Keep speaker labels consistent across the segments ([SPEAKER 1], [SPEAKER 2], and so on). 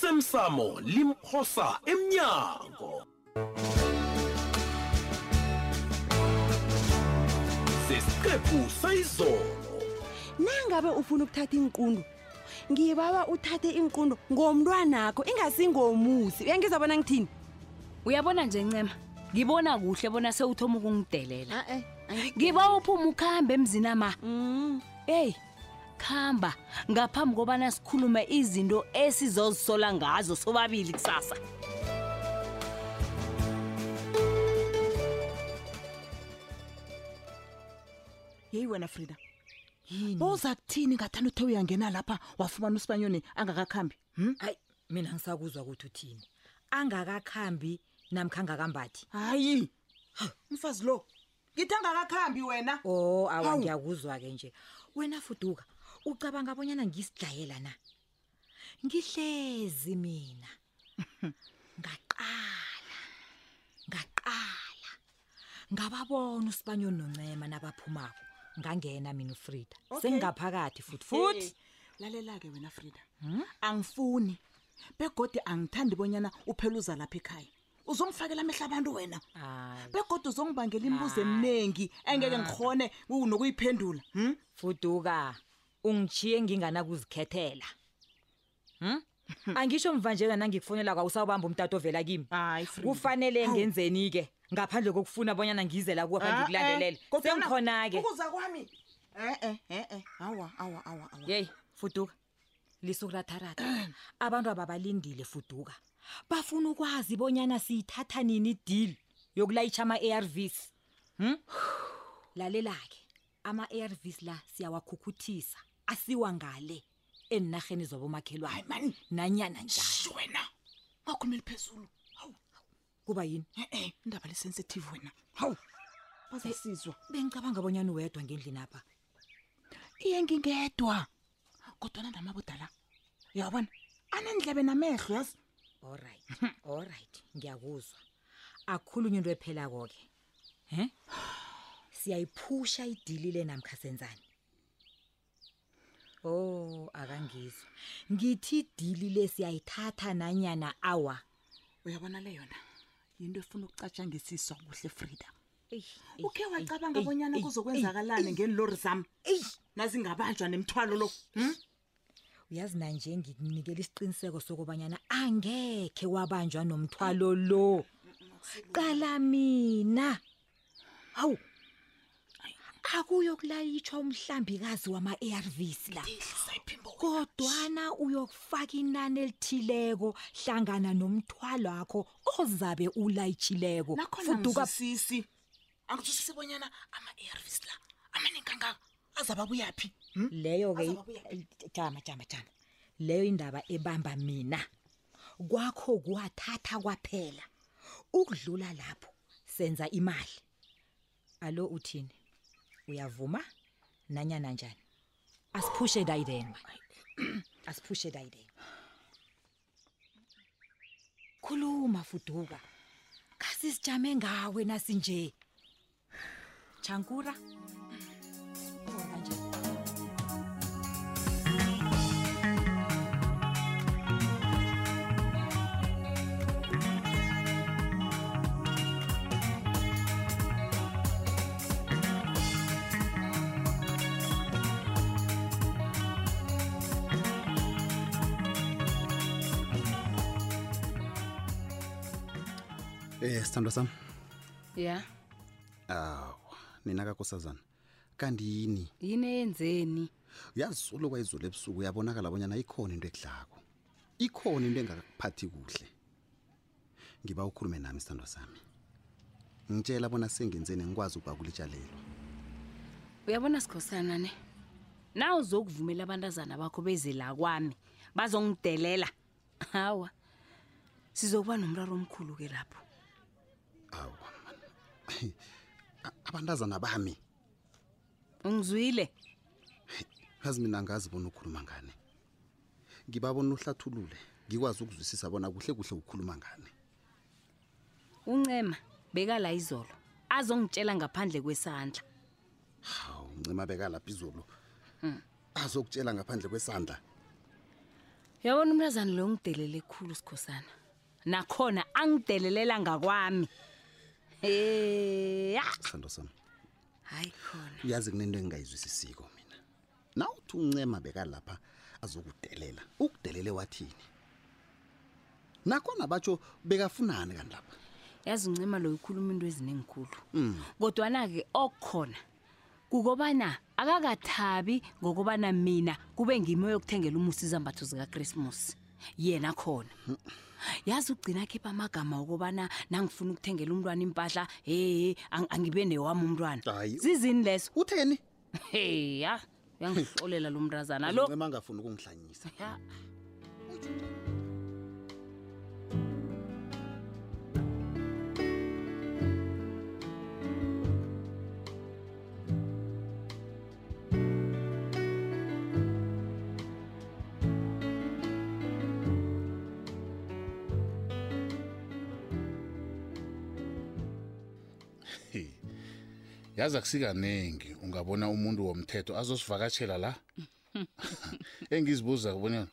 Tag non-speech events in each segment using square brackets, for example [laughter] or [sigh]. [SPEAKER 1] osemsamo limphosa emnyango sesiqephu sayizolo
[SPEAKER 2] nangabe ufuna ukuthatha inqundu ngibawa uthathe inqundu ngomntwanakho ingasingomusi uyangizwa bona ngithini
[SPEAKER 3] uyabona nje ncema ngibona kuhle bona sewuthoma ukungidelela
[SPEAKER 2] a-e
[SPEAKER 3] ngiba uphuma ukuhamba emzini ama
[SPEAKER 2] Mm.
[SPEAKER 3] eyi khamba ngaphambi kobana sikhulume izinto esizozisola ngazo sobabili kusasa
[SPEAKER 4] yeyi wena frida boza kuthini ngathanda uthe uyangena lapha wafumana usibanyoni angakakhambi hm?
[SPEAKER 5] hayi mina ngisakuzwa ukuthi uthini angakakhambi namkha angakambathi
[SPEAKER 4] hayi mfazi lo ngithi angakakhambi wena
[SPEAKER 5] o awa
[SPEAKER 4] Hawu.
[SPEAKER 5] ngiyakuzwa-ke nje wena fuduka ucabanga abonyana ngisidlayela na ngihlezi
[SPEAKER 4] [laughs]
[SPEAKER 5] mina ngaqala ngaqala ngababona usibanyoni noncema nabaphumako ngangena mina ufrida
[SPEAKER 4] Okay.
[SPEAKER 5] sengingaphakathi futhi
[SPEAKER 4] futhi Eh,
[SPEAKER 5] futhi Hmm?
[SPEAKER 4] lalela-ke wena frida angifuni begodi angithandi bonyana uphela uza lapha ekhaya uzongifakela amehla abantu wena
[SPEAKER 3] Ah,
[SPEAKER 5] Hayi.
[SPEAKER 4] begodi uzongibangela imibuzo eminingi engeke ngikhone nokuyiphendula hm?
[SPEAKER 5] Ah. fuduka ungichiye nginganakuzikhethela
[SPEAKER 4] [laughs]
[SPEAKER 5] hm angisho mva nje kana ngikufonela kwawusawubamba umtato ovela kimi
[SPEAKER 4] Hayi, Frida.
[SPEAKER 5] kufanele
[SPEAKER 4] Hawu. Ah,
[SPEAKER 5] ngenzeni ke ngaphandle kokufuna abonyana ngize la kuwe phambi kulandelele sengikhona ke
[SPEAKER 4] Eh, ukuza kwami e-e e-e eh, awa awa awa awa
[SPEAKER 5] yeyi fuduka lisuku
[SPEAKER 4] [clears throat]
[SPEAKER 5] latharatha abantu ababalindile fuduka bafuna ukwazi bonyana siyithatha nini idili yokulayitsha ama-ar vs hm [sighs] lalela-ke ama-ar vs la siyawakhukhuthisa asiwa ngale enarheni
[SPEAKER 4] Hayi,
[SPEAKER 5] zobomakhelwane
[SPEAKER 4] mani
[SPEAKER 5] nanyana njani
[SPEAKER 4] shi wena ngakhulumeli phezulu hawu
[SPEAKER 5] kuba yini
[SPEAKER 4] e-e indaba le-sensitive wena hawu bazasizwa
[SPEAKER 5] bengicabanga abonyana uwedwa ngendlini apha
[SPEAKER 4] iye ngingedwa kodwana namabuda la uyawabona anendlebe namehlo yazi
[SPEAKER 5] allright allright ngiyakuzwa akukhulunywe into ephelako ke he siyayiphusha idilile namkha senzani oh akangizwa ngithi idilile siyayithatha nanyana awa
[SPEAKER 4] uyabona le yona yinto efuna ukucatshangisiswa kuhle frida
[SPEAKER 5] Eyi, eyi,
[SPEAKER 4] Eh, ukhe
[SPEAKER 5] eyi,
[SPEAKER 4] wacabanga
[SPEAKER 5] eyi,
[SPEAKER 4] bonyana
[SPEAKER 5] eyi,
[SPEAKER 4] kuzokwenzakalani
[SPEAKER 5] eyi,
[SPEAKER 4] ngelori zami
[SPEAKER 5] eyi.
[SPEAKER 4] nazingabanjwa nemthwalo lo Hmm?
[SPEAKER 5] uyazi nanje ngikunikela isiqiniseko sokubanyana angekhe wabanjwa nomthwalo lo qala mina hawu akuyokulayitshwa umhlambikazi wama-arvs la kodwana uyokufaka inani elithileko hlangana nomthwalo wakho ozabe ulayitshileko
[SPEAKER 4] nakhona ngizwisisi angizwisisi bonyana ama-arvs la amaningi kangaka azababuyaphi
[SPEAKER 5] leyo-ke
[SPEAKER 4] Azababuya
[SPEAKER 5] jama jama jama leyo indaba ebamba mina kwakho kuwathatha kwaphela ukudlula lapho senza imali alo uthini uyavuma nanyana njani asiphushe dayidenwa asiphushe dayiden khuluma fuduka kasisijame ngawe nasinje chankura khona nje
[SPEAKER 6] Eh sithandwa sami,
[SPEAKER 3] ya
[SPEAKER 6] aw nina kakosazana. Kanti yini?
[SPEAKER 3] yini eyenzeni
[SPEAKER 6] Uyazi ulokwa izulu ebusuku uyabonakala abonyana ikhona into ekudlako. Ikhona into engakuphathi kuhle. Ngiba ukhulume nami sithandwa sami. Ngitshela bona sengenzeni ngikwazi ukuba kulitshalelwa.
[SPEAKER 3] uyabona sikhosana ne naw uzokuvumela abantazana bakho beze la kwami bazongidelela hawa sizokuba nomraro omkhulu-ke lapho
[SPEAKER 6] Aw. Abantazana bami,
[SPEAKER 3] ungizwile
[SPEAKER 6] yazi mina angazi bona ukhuluma ngani. Ngibabona uhlathulule, ngikwazi ukuzwisisa bona kuhle kuhle ukhuluma ngani.
[SPEAKER 3] uncema beka la izolo azongitshela ngaphandle kwesandla
[SPEAKER 6] Hawu, ncima beka lapha izulu. Azokutshela ngaphandle kwesandla.
[SPEAKER 3] yabona umntazana loyo ngidelele khulu sikhosana nakhona angidelelela ngakwami eya
[SPEAKER 6] sithando sami
[SPEAKER 3] hayi khona
[SPEAKER 6] uyazi kunento engingayizwisisiko mina nawuthi uncema bekalapha azokudelela ukudelele wathini nakhona batsho bekafunani kanti lapha
[SPEAKER 3] yazi uncima loyo ukhuluma into ezinengikhulu kodwana-ke okukhona kukobana akakathabi ngokobana mina kube ngimi yokuthengela umusi izambatho zikakrismus yena khona yazi ugcina akhipha amagama okobana nangifuna ukuthengela umntwana impahla hehe ang- angibe newami umntwana
[SPEAKER 6] Hayi.
[SPEAKER 3] zizini lezo
[SPEAKER 6] utheni
[SPEAKER 3] heya uyangihlolela lo mntazana lo
[SPEAKER 6] ncema angafuni ukungihlanyisa
[SPEAKER 3] Ya.
[SPEAKER 7] Hey. yazi akusikanengi ungabona umuntu womthetho azosivakatshela la engizibuza kubonyana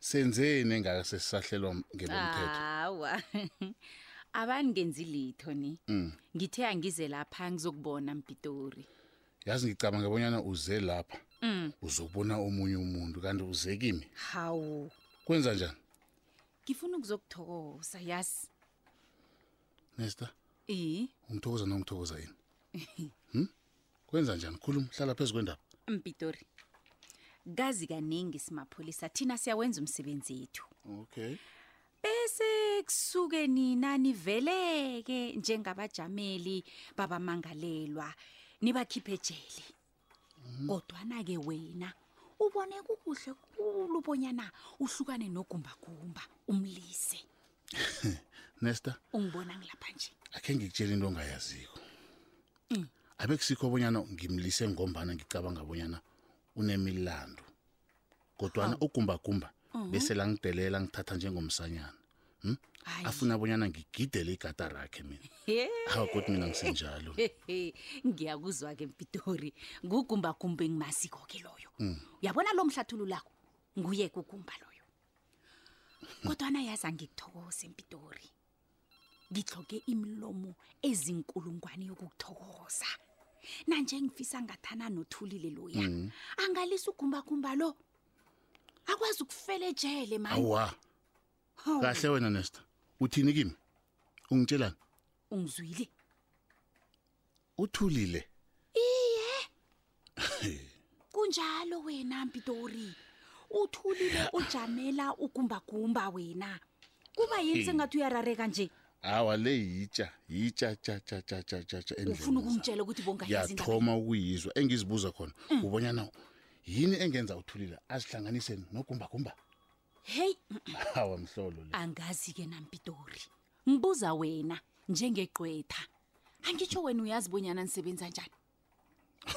[SPEAKER 7] senzeni engaka sesisahlelwa ngelomthetho
[SPEAKER 8] Ah. [laughs] hawa abangenzi litho ni
[SPEAKER 7] Mm,
[SPEAKER 8] ngithe angize lapha ngizokubona mpitori Mm.
[SPEAKER 7] yazi ngicabanga bonyana uze lapha uzokubona omunye umuntu kanti uze kimi
[SPEAKER 8] hawu
[SPEAKER 7] kwenza njani
[SPEAKER 8] ngifuna ukuzokuthokoza yazi
[SPEAKER 7] nesta
[SPEAKER 8] i
[SPEAKER 7] ungithokoza nongithokoza yini Hmm? kwenza njani khuluma hlala phezu kwendaba
[SPEAKER 8] [laughs] mpitori kazi kaningi simapholisa thina siyawenza umsebenzi ethu
[SPEAKER 7] okay
[SPEAKER 8] bese kusuke nina niveleke njengabajameli babamangalelwa nibakhiphe jele
[SPEAKER 7] Mhm.
[SPEAKER 8] kodwana-ke wena ubone kukuhle kulu bonyana uhlukane nogumbagumba umlise
[SPEAKER 7] nesta
[SPEAKER 8] ungibona ngilapha nje
[SPEAKER 7] akhe ngikutshela into ongayaziko abe kusikho bonyana ngimlise ngombana ngicabanga bonyana unemilando kodwana ugumbagumba bese langidelela ngithatha njengomsanyana Hmm?
[SPEAKER 8] Hayi.
[SPEAKER 7] afuna bonyana ngigidele igada rakhe mina
[SPEAKER 8] He,
[SPEAKER 7] hawa kodwa mina ngisinjalo
[SPEAKER 8] he, he. [laughs] ngiyakuzwa-ke mpitori ngugumbagumba engimaziko-ke loyo uyabona lo mhlathululako nguye kugumba loyo kodwana yazi angikuthokoze mpitori ngitloke imilomo ezinkulungwane yokukuthokoza nanje ngifisa ngathana nothulile loya
[SPEAKER 7] Hmm.
[SPEAKER 8] angalisa ugumbagumba lo akwazi ukufele ejele mani
[SPEAKER 7] awa kahle wena nesta uthini kimi ungitshelani
[SPEAKER 8] ungizwile
[SPEAKER 7] uthulile
[SPEAKER 8] kunjalo wena mpitori uthulile ujamela ugumbagumba wena kuba yini sengathi uyarareka nje
[SPEAKER 7] awa le yitsha yitsha tsha tsha tsha tsha tsha tsha
[SPEAKER 8] ufuna
[SPEAKER 7] endleleni zami.
[SPEAKER 8] ukungitshela ukuthi bongayazi indaba
[SPEAKER 7] ngiyathoma ukuyizwa engizibuza khona ubonyana yini engenza uthulile azihlanganise nogumbagumba
[SPEAKER 8] heyi
[SPEAKER 7] [laughs] awa mhlolo le
[SPEAKER 8] angazi-ke nampitori ngibuza wena njengegqwetha angitsho wena uyazi bonyana nisebenza njani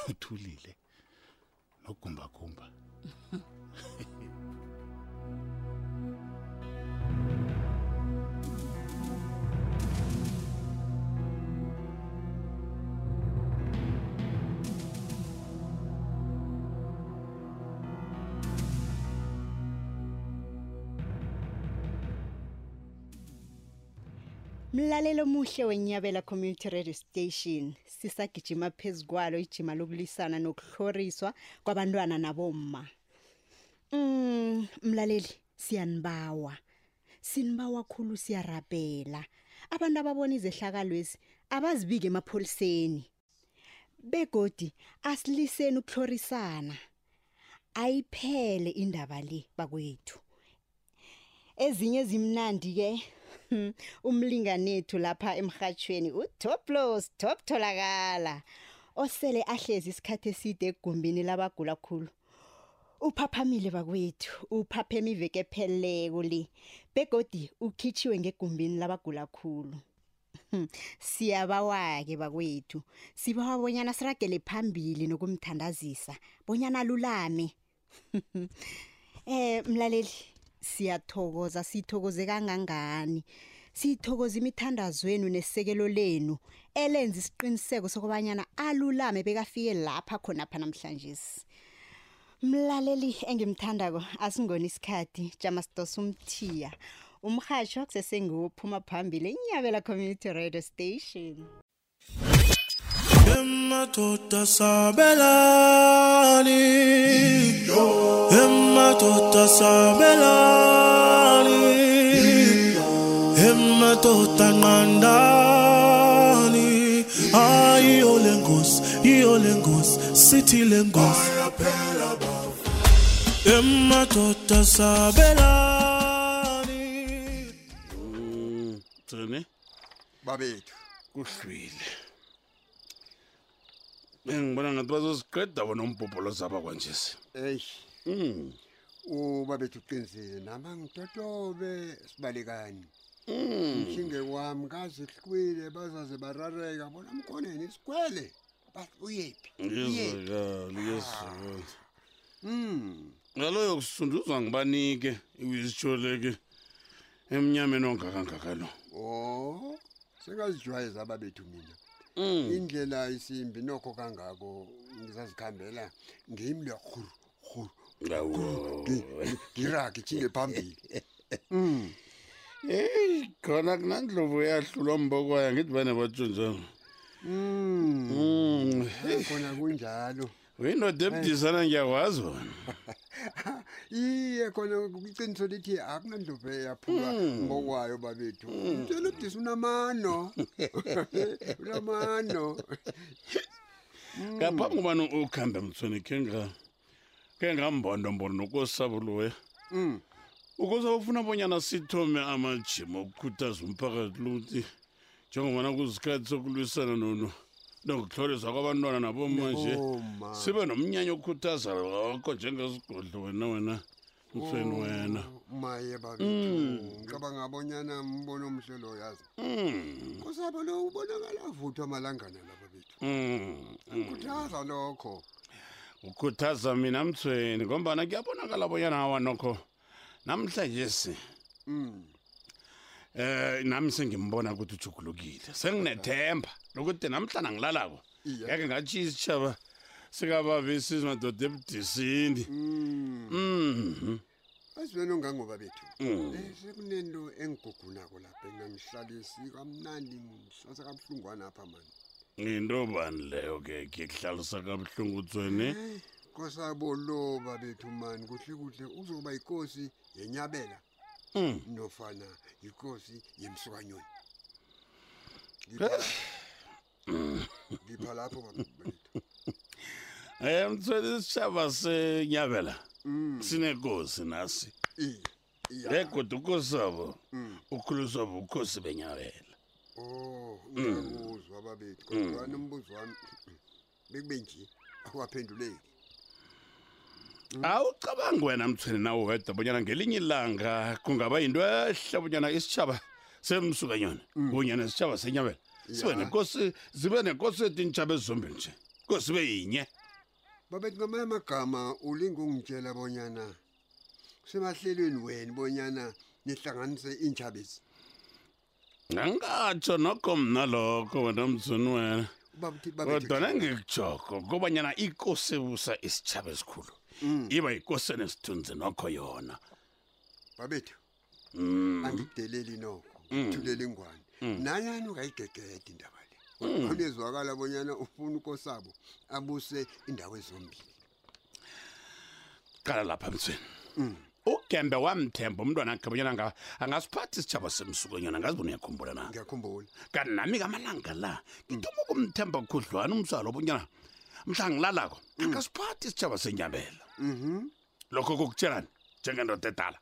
[SPEAKER 7] uthulile nogumbagumba
[SPEAKER 9] mlalelo muhle wenyabela community radio station sisagijima phezu kwalo ijima lokulisana nokuhloriswa kwabantwana nabomma mm, mlaleli siyanibawa sinibawa khulu siyarabhela abantu ababona izehlakalwezi abazibike emapholiseni begodi asiliseni ukuhlorisana ayiphele indaba le bakwethu ezinye zimnandi ke [laughs] umlinganethu lapha emrhatshweni utoplos top tholakala osele ahlezi isikhathi eside egumbini labagula khulu uphaphamile bakwethu uphapheme iveke pheleleko le begodi ukhitshiwe ngegumbini labagula khulu [laughs] Hmm, siyabawa-ke bakwethu sibawa bonyana siragele phambili nokumthandazisa bonyana lulame [laughs] Eh mlaleli siyathokoza sithokoze kangangani sithokoza imithandazweni nesekelo lenu elenza isiqiniseko sokubanyana alulame bekafike lapha khona pha namhlanje mlaleli engimthandako asingona isikhathi jama sidosa umthiya umrhatsho kusesengiwo ophuma phambili inyabela community radio station
[SPEAKER 10] emadoda sabelani emadoda sabelani emadoda nqandani hayi yole ngosi yole ngosi sithi le ngosi emadoda Tota sabelani
[SPEAKER 11] gcine
[SPEAKER 12] babethu
[SPEAKER 11] Mm, kuhlwile bengibona ngathi bazoziqeda bona umbhobholo zaba kwanjesi
[SPEAKER 12] eyi ubabethu uqinisile nama ngitotobe sibalekani
[SPEAKER 11] Mm.
[SPEAKER 12] mshinge kwami kazihlwile bazaze barareka bona mkhoneni isikwele bathi uyephi uyephi Ah,
[SPEAKER 11] ngizwakali ngezwakali
[SPEAKER 12] Mm.
[SPEAKER 11] ngaloyo kusunduzwa ngibanike iwisitsholeke emnyameni ongakangaka lo
[SPEAKER 12] o sengazijwayeza ababethu mina
[SPEAKER 11] Mm.
[SPEAKER 12] indlela isimbi nokho kangako ngizazikhambela ngimi le huru huru
[SPEAKER 11] Awu.
[SPEAKER 12] ngirage ijinge phambili
[SPEAKER 11] eyi [laughs] khona kunandlovu yahlulwa mbokwaya ngithi bane batsho njalo Mm. Hey,
[SPEAKER 12] Hmm. khona kunjalo
[SPEAKER 11] uyindoda ebudisana ngiyakwazi wona
[SPEAKER 12] iye khona iciniso lithi akunandlovu eyaphuka ngokwayo babethu mtshela ubudisa unamano unamano
[SPEAKER 11] ngaphambi kobani ukhambe mthweni khe nga- khe ngambondombono nokosabuluwe
[SPEAKER 12] Mm.
[SPEAKER 11] ukuze ufuna bonyana sithome amajima okukhuthaza umphakathi lokuthi njengobana kusikhathi sokulwisana nono nokuhloliswa kwabantwana naboma nje
[SPEAKER 12] Naboma.
[SPEAKER 11] sibe nomnyanya okhuthaza lokho njengesigodlo wena wena mthweni wena
[SPEAKER 12] maye babethu
[SPEAKER 11] Mm.
[SPEAKER 12] ngicabanga abonyana mbono omhle lo yazi
[SPEAKER 11] Mm.
[SPEAKER 12] kusabo lo ubonakala avuthwa amalangana la babethu
[SPEAKER 11] Mm. Mm.
[SPEAKER 12] khuthaza lokho
[SPEAKER 11] ukhuthaza mina mthweni ngombana kuyabonakala bonyana awanokho namhlanje si
[SPEAKER 12] Mm.
[SPEAKER 11] eh nami sengimbona ukuthi ujugulukile senginethemba lokuthi namhlanje ngilalako
[SPEAKER 12] Iya.
[SPEAKER 11] yake ngatshiya isitshaba sikababisi madoda ebudisini
[SPEAKER 12] Mm.
[SPEAKER 11] Mhm.
[SPEAKER 12] azibeni ongangoba bethu
[SPEAKER 11] Mm.
[SPEAKER 12] Eh, sekunento engigugunako lapha enganihlalisi kamnandi ngihlasa kabuhlungwana apha mani
[SPEAKER 11] into bani leyo ke ke kuhlalisa kabuhlungu tsweni
[SPEAKER 12] kosaboloba bethu mani kuhle kuhle uzoba yikosi yenyabela nofana yikosi yemsukanyoni Ngipha-
[SPEAKER 11] Mm.
[SPEAKER 12] ngipha lapho babethu
[SPEAKER 11] [laughs] eh mtsweni isitshaba senyabela
[SPEAKER 12] Mm.
[SPEAKER 11] sinekosi nasi
[SPEAKER 12] Iye,
[SPEAKER 11] legoda ukosi abo ukhuliswa bukhosi benyabela
[SPEAKER 12] Hmm. Oh,
[SPEAKER 11] Mm.
[SPEAKER 12] ngiyakuzwa babethu
[SPEAKER 11] Mm.
[SPEAKER 12] kodwa nombuzo wami bekube nje awaphenduleki Mm.
[SPEAKER 11] awucabangi wena mthweni nawo wedwa bonyana ngelinye ilanga kungaba yinto ehle bonyana isitshaba semsukanyoni kunye nesitshaba senyabela
[SPEAKER 12] Mm.
[SPEAKER 11] sibe
[SPEAKER 12] Ya.
[SPEAKER 11] nenkosi zibe nenkosi yetinitshaba ezizombini nje kosi ibe yinye
[SPEAKER 12] babethu ngamanye amagama ulinga ungitshela bonyana semahlelweni wena bonyana nihlanganise iintshaba
[SPEAKER 11] angatsho nokho mna lokho wena mthweni wena kodwa nengikujoko kobanyana ikosi ebusa isitshaba esikhulu iba yikosi enesithunzi nokho yona
[SPEAKER 12] babethu
[SPEAKER 11] Mm.
[SPEAKER 12] angideleli nokho
[SPEAKER 11] Mm.
[SPEAKER 12] ngithulela ingwane
[SPEAKER 11] Mm.
[SPEAKER 12] nanyani ungayigegede indaba le
[SPEAKER 11] Mm.
[SPEAKER 12] unezwakala bonyana ufuna ukosabo abuse indawo ezombili
[SPEAKER 11] qala lapha mthweni ugembe wamthemba umntwana akhe bonyana anga- angasiphathi isitshaba semsukanyona ngazibona uyakhumbula na
[SPEAKER 12] ngiyakhumbula
[SPEAKER 11] kanti nami kamalanga la ngithoma ukumthemba khudlwana umsalo obunyana mhla ngilalako angasiphathi isitshaba senyabela
[SPEAKER 12] mhm
[SPEAKER 11] lokho kokutshelani njengendoda edala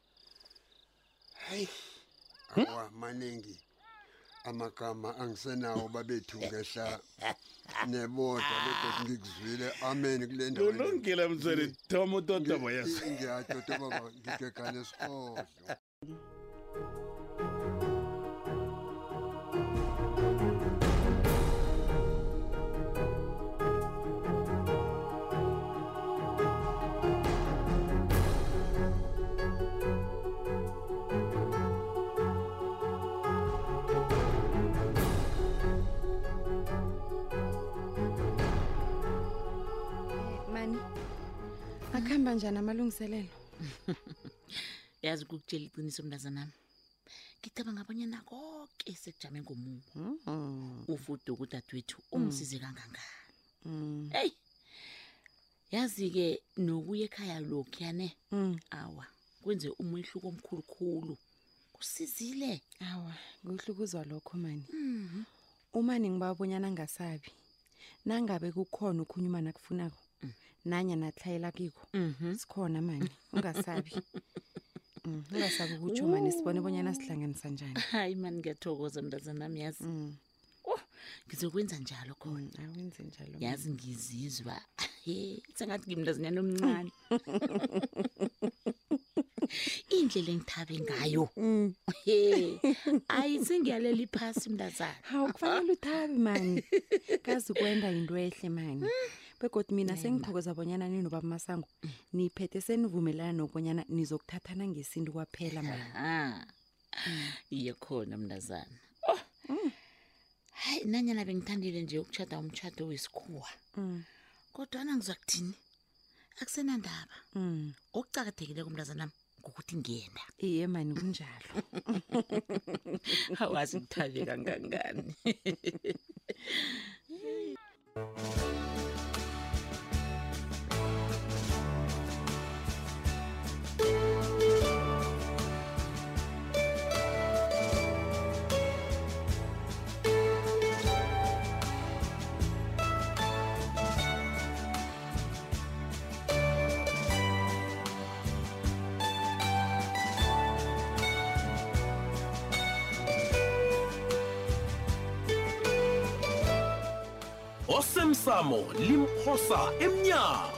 [SPEAKER 12] hayi awa
[SPEAKER 11] Hmm?
[SPEAKER 12] maningi amagama angisenawo babethu ngehla nebodwa begodwa ngikuzwile amen kule ndawo le.
[SPEAKER 11] ulungile mthweni thoma utotobo yes
[SPEAKER 12] ngiyatotoba ngigegane esihodlo
[SPEAKER 2] mani akhe kuhamba njani amalungiselelo
[SPEAKER 13] yazi ukukutshela iqiniso mntazanami ngicabanga abanyana konke sekujame ngomumo
[SPEAKER 2] Mm-hmm.
[SPEAKER 13] ufuduka udadewethu umsize
[SPEAKER 2] Mm.
[SPEAKER 13] kangangani eyi yazi-ke nokuya ekhaya lokhuyane
[SPEAKER 2] Mm.
[SPEAKER 13] awa kwenze umehluko omkhulukhulu kusizile
[SPEAKER 2] awa kuhlukuzwa lokho mani Mm-hmm. umani ngibabonyana ngasabi nangabe kukhona ukhunye umani akufunako nanya natlhayela kiko sikhona mani ungasabi Mm, ungasabi ukutsho mani sibone bonyana sihlanganisa njani
[SPEAKER 13] [laughs]
[SPEAKER 2] Mm.
[SPEAKER 13] hayi mani ngiyathokoza mntazanami yazi oh ngizokwenza njalo khona
[SPEAKER 2] awenze Mm, njalo
[SPEAKER 13] yazi ngizizwa he sengathi ngimntazinyana omncane indlela engithabe ngayo
[SPEAKER 2] Mm.
[SPEAKER 13] he ayi sengiyalela iphasi mntazana
[SPEAKER 2] hawu kufanele uthabi mani kazi ukwenda yinto ehle mani begodi mina sengithokoza bonyana nino baba masango niphethe senivumelana nokubonyana nizokuthathana ngesintu kwaphela mani
[SPEAKER 13] ha iye khona mntazana oh hayi nanyana bengithandile nje ukutshada umtshado wesikhuwa
[SPEAKER 2] Mm.
[SPEAKER 13] kodwana ngizakuthini akusenandaba okucakathekileko mntazanami ngokuthi ngiyena
[SPEAKER 2] Mm. iye mani kunjalo
[SPEAKER 13] [laughs] awazi ngithabe kangangani [laughs]
[SPEAKER 1] osemsamo limphosa emnyango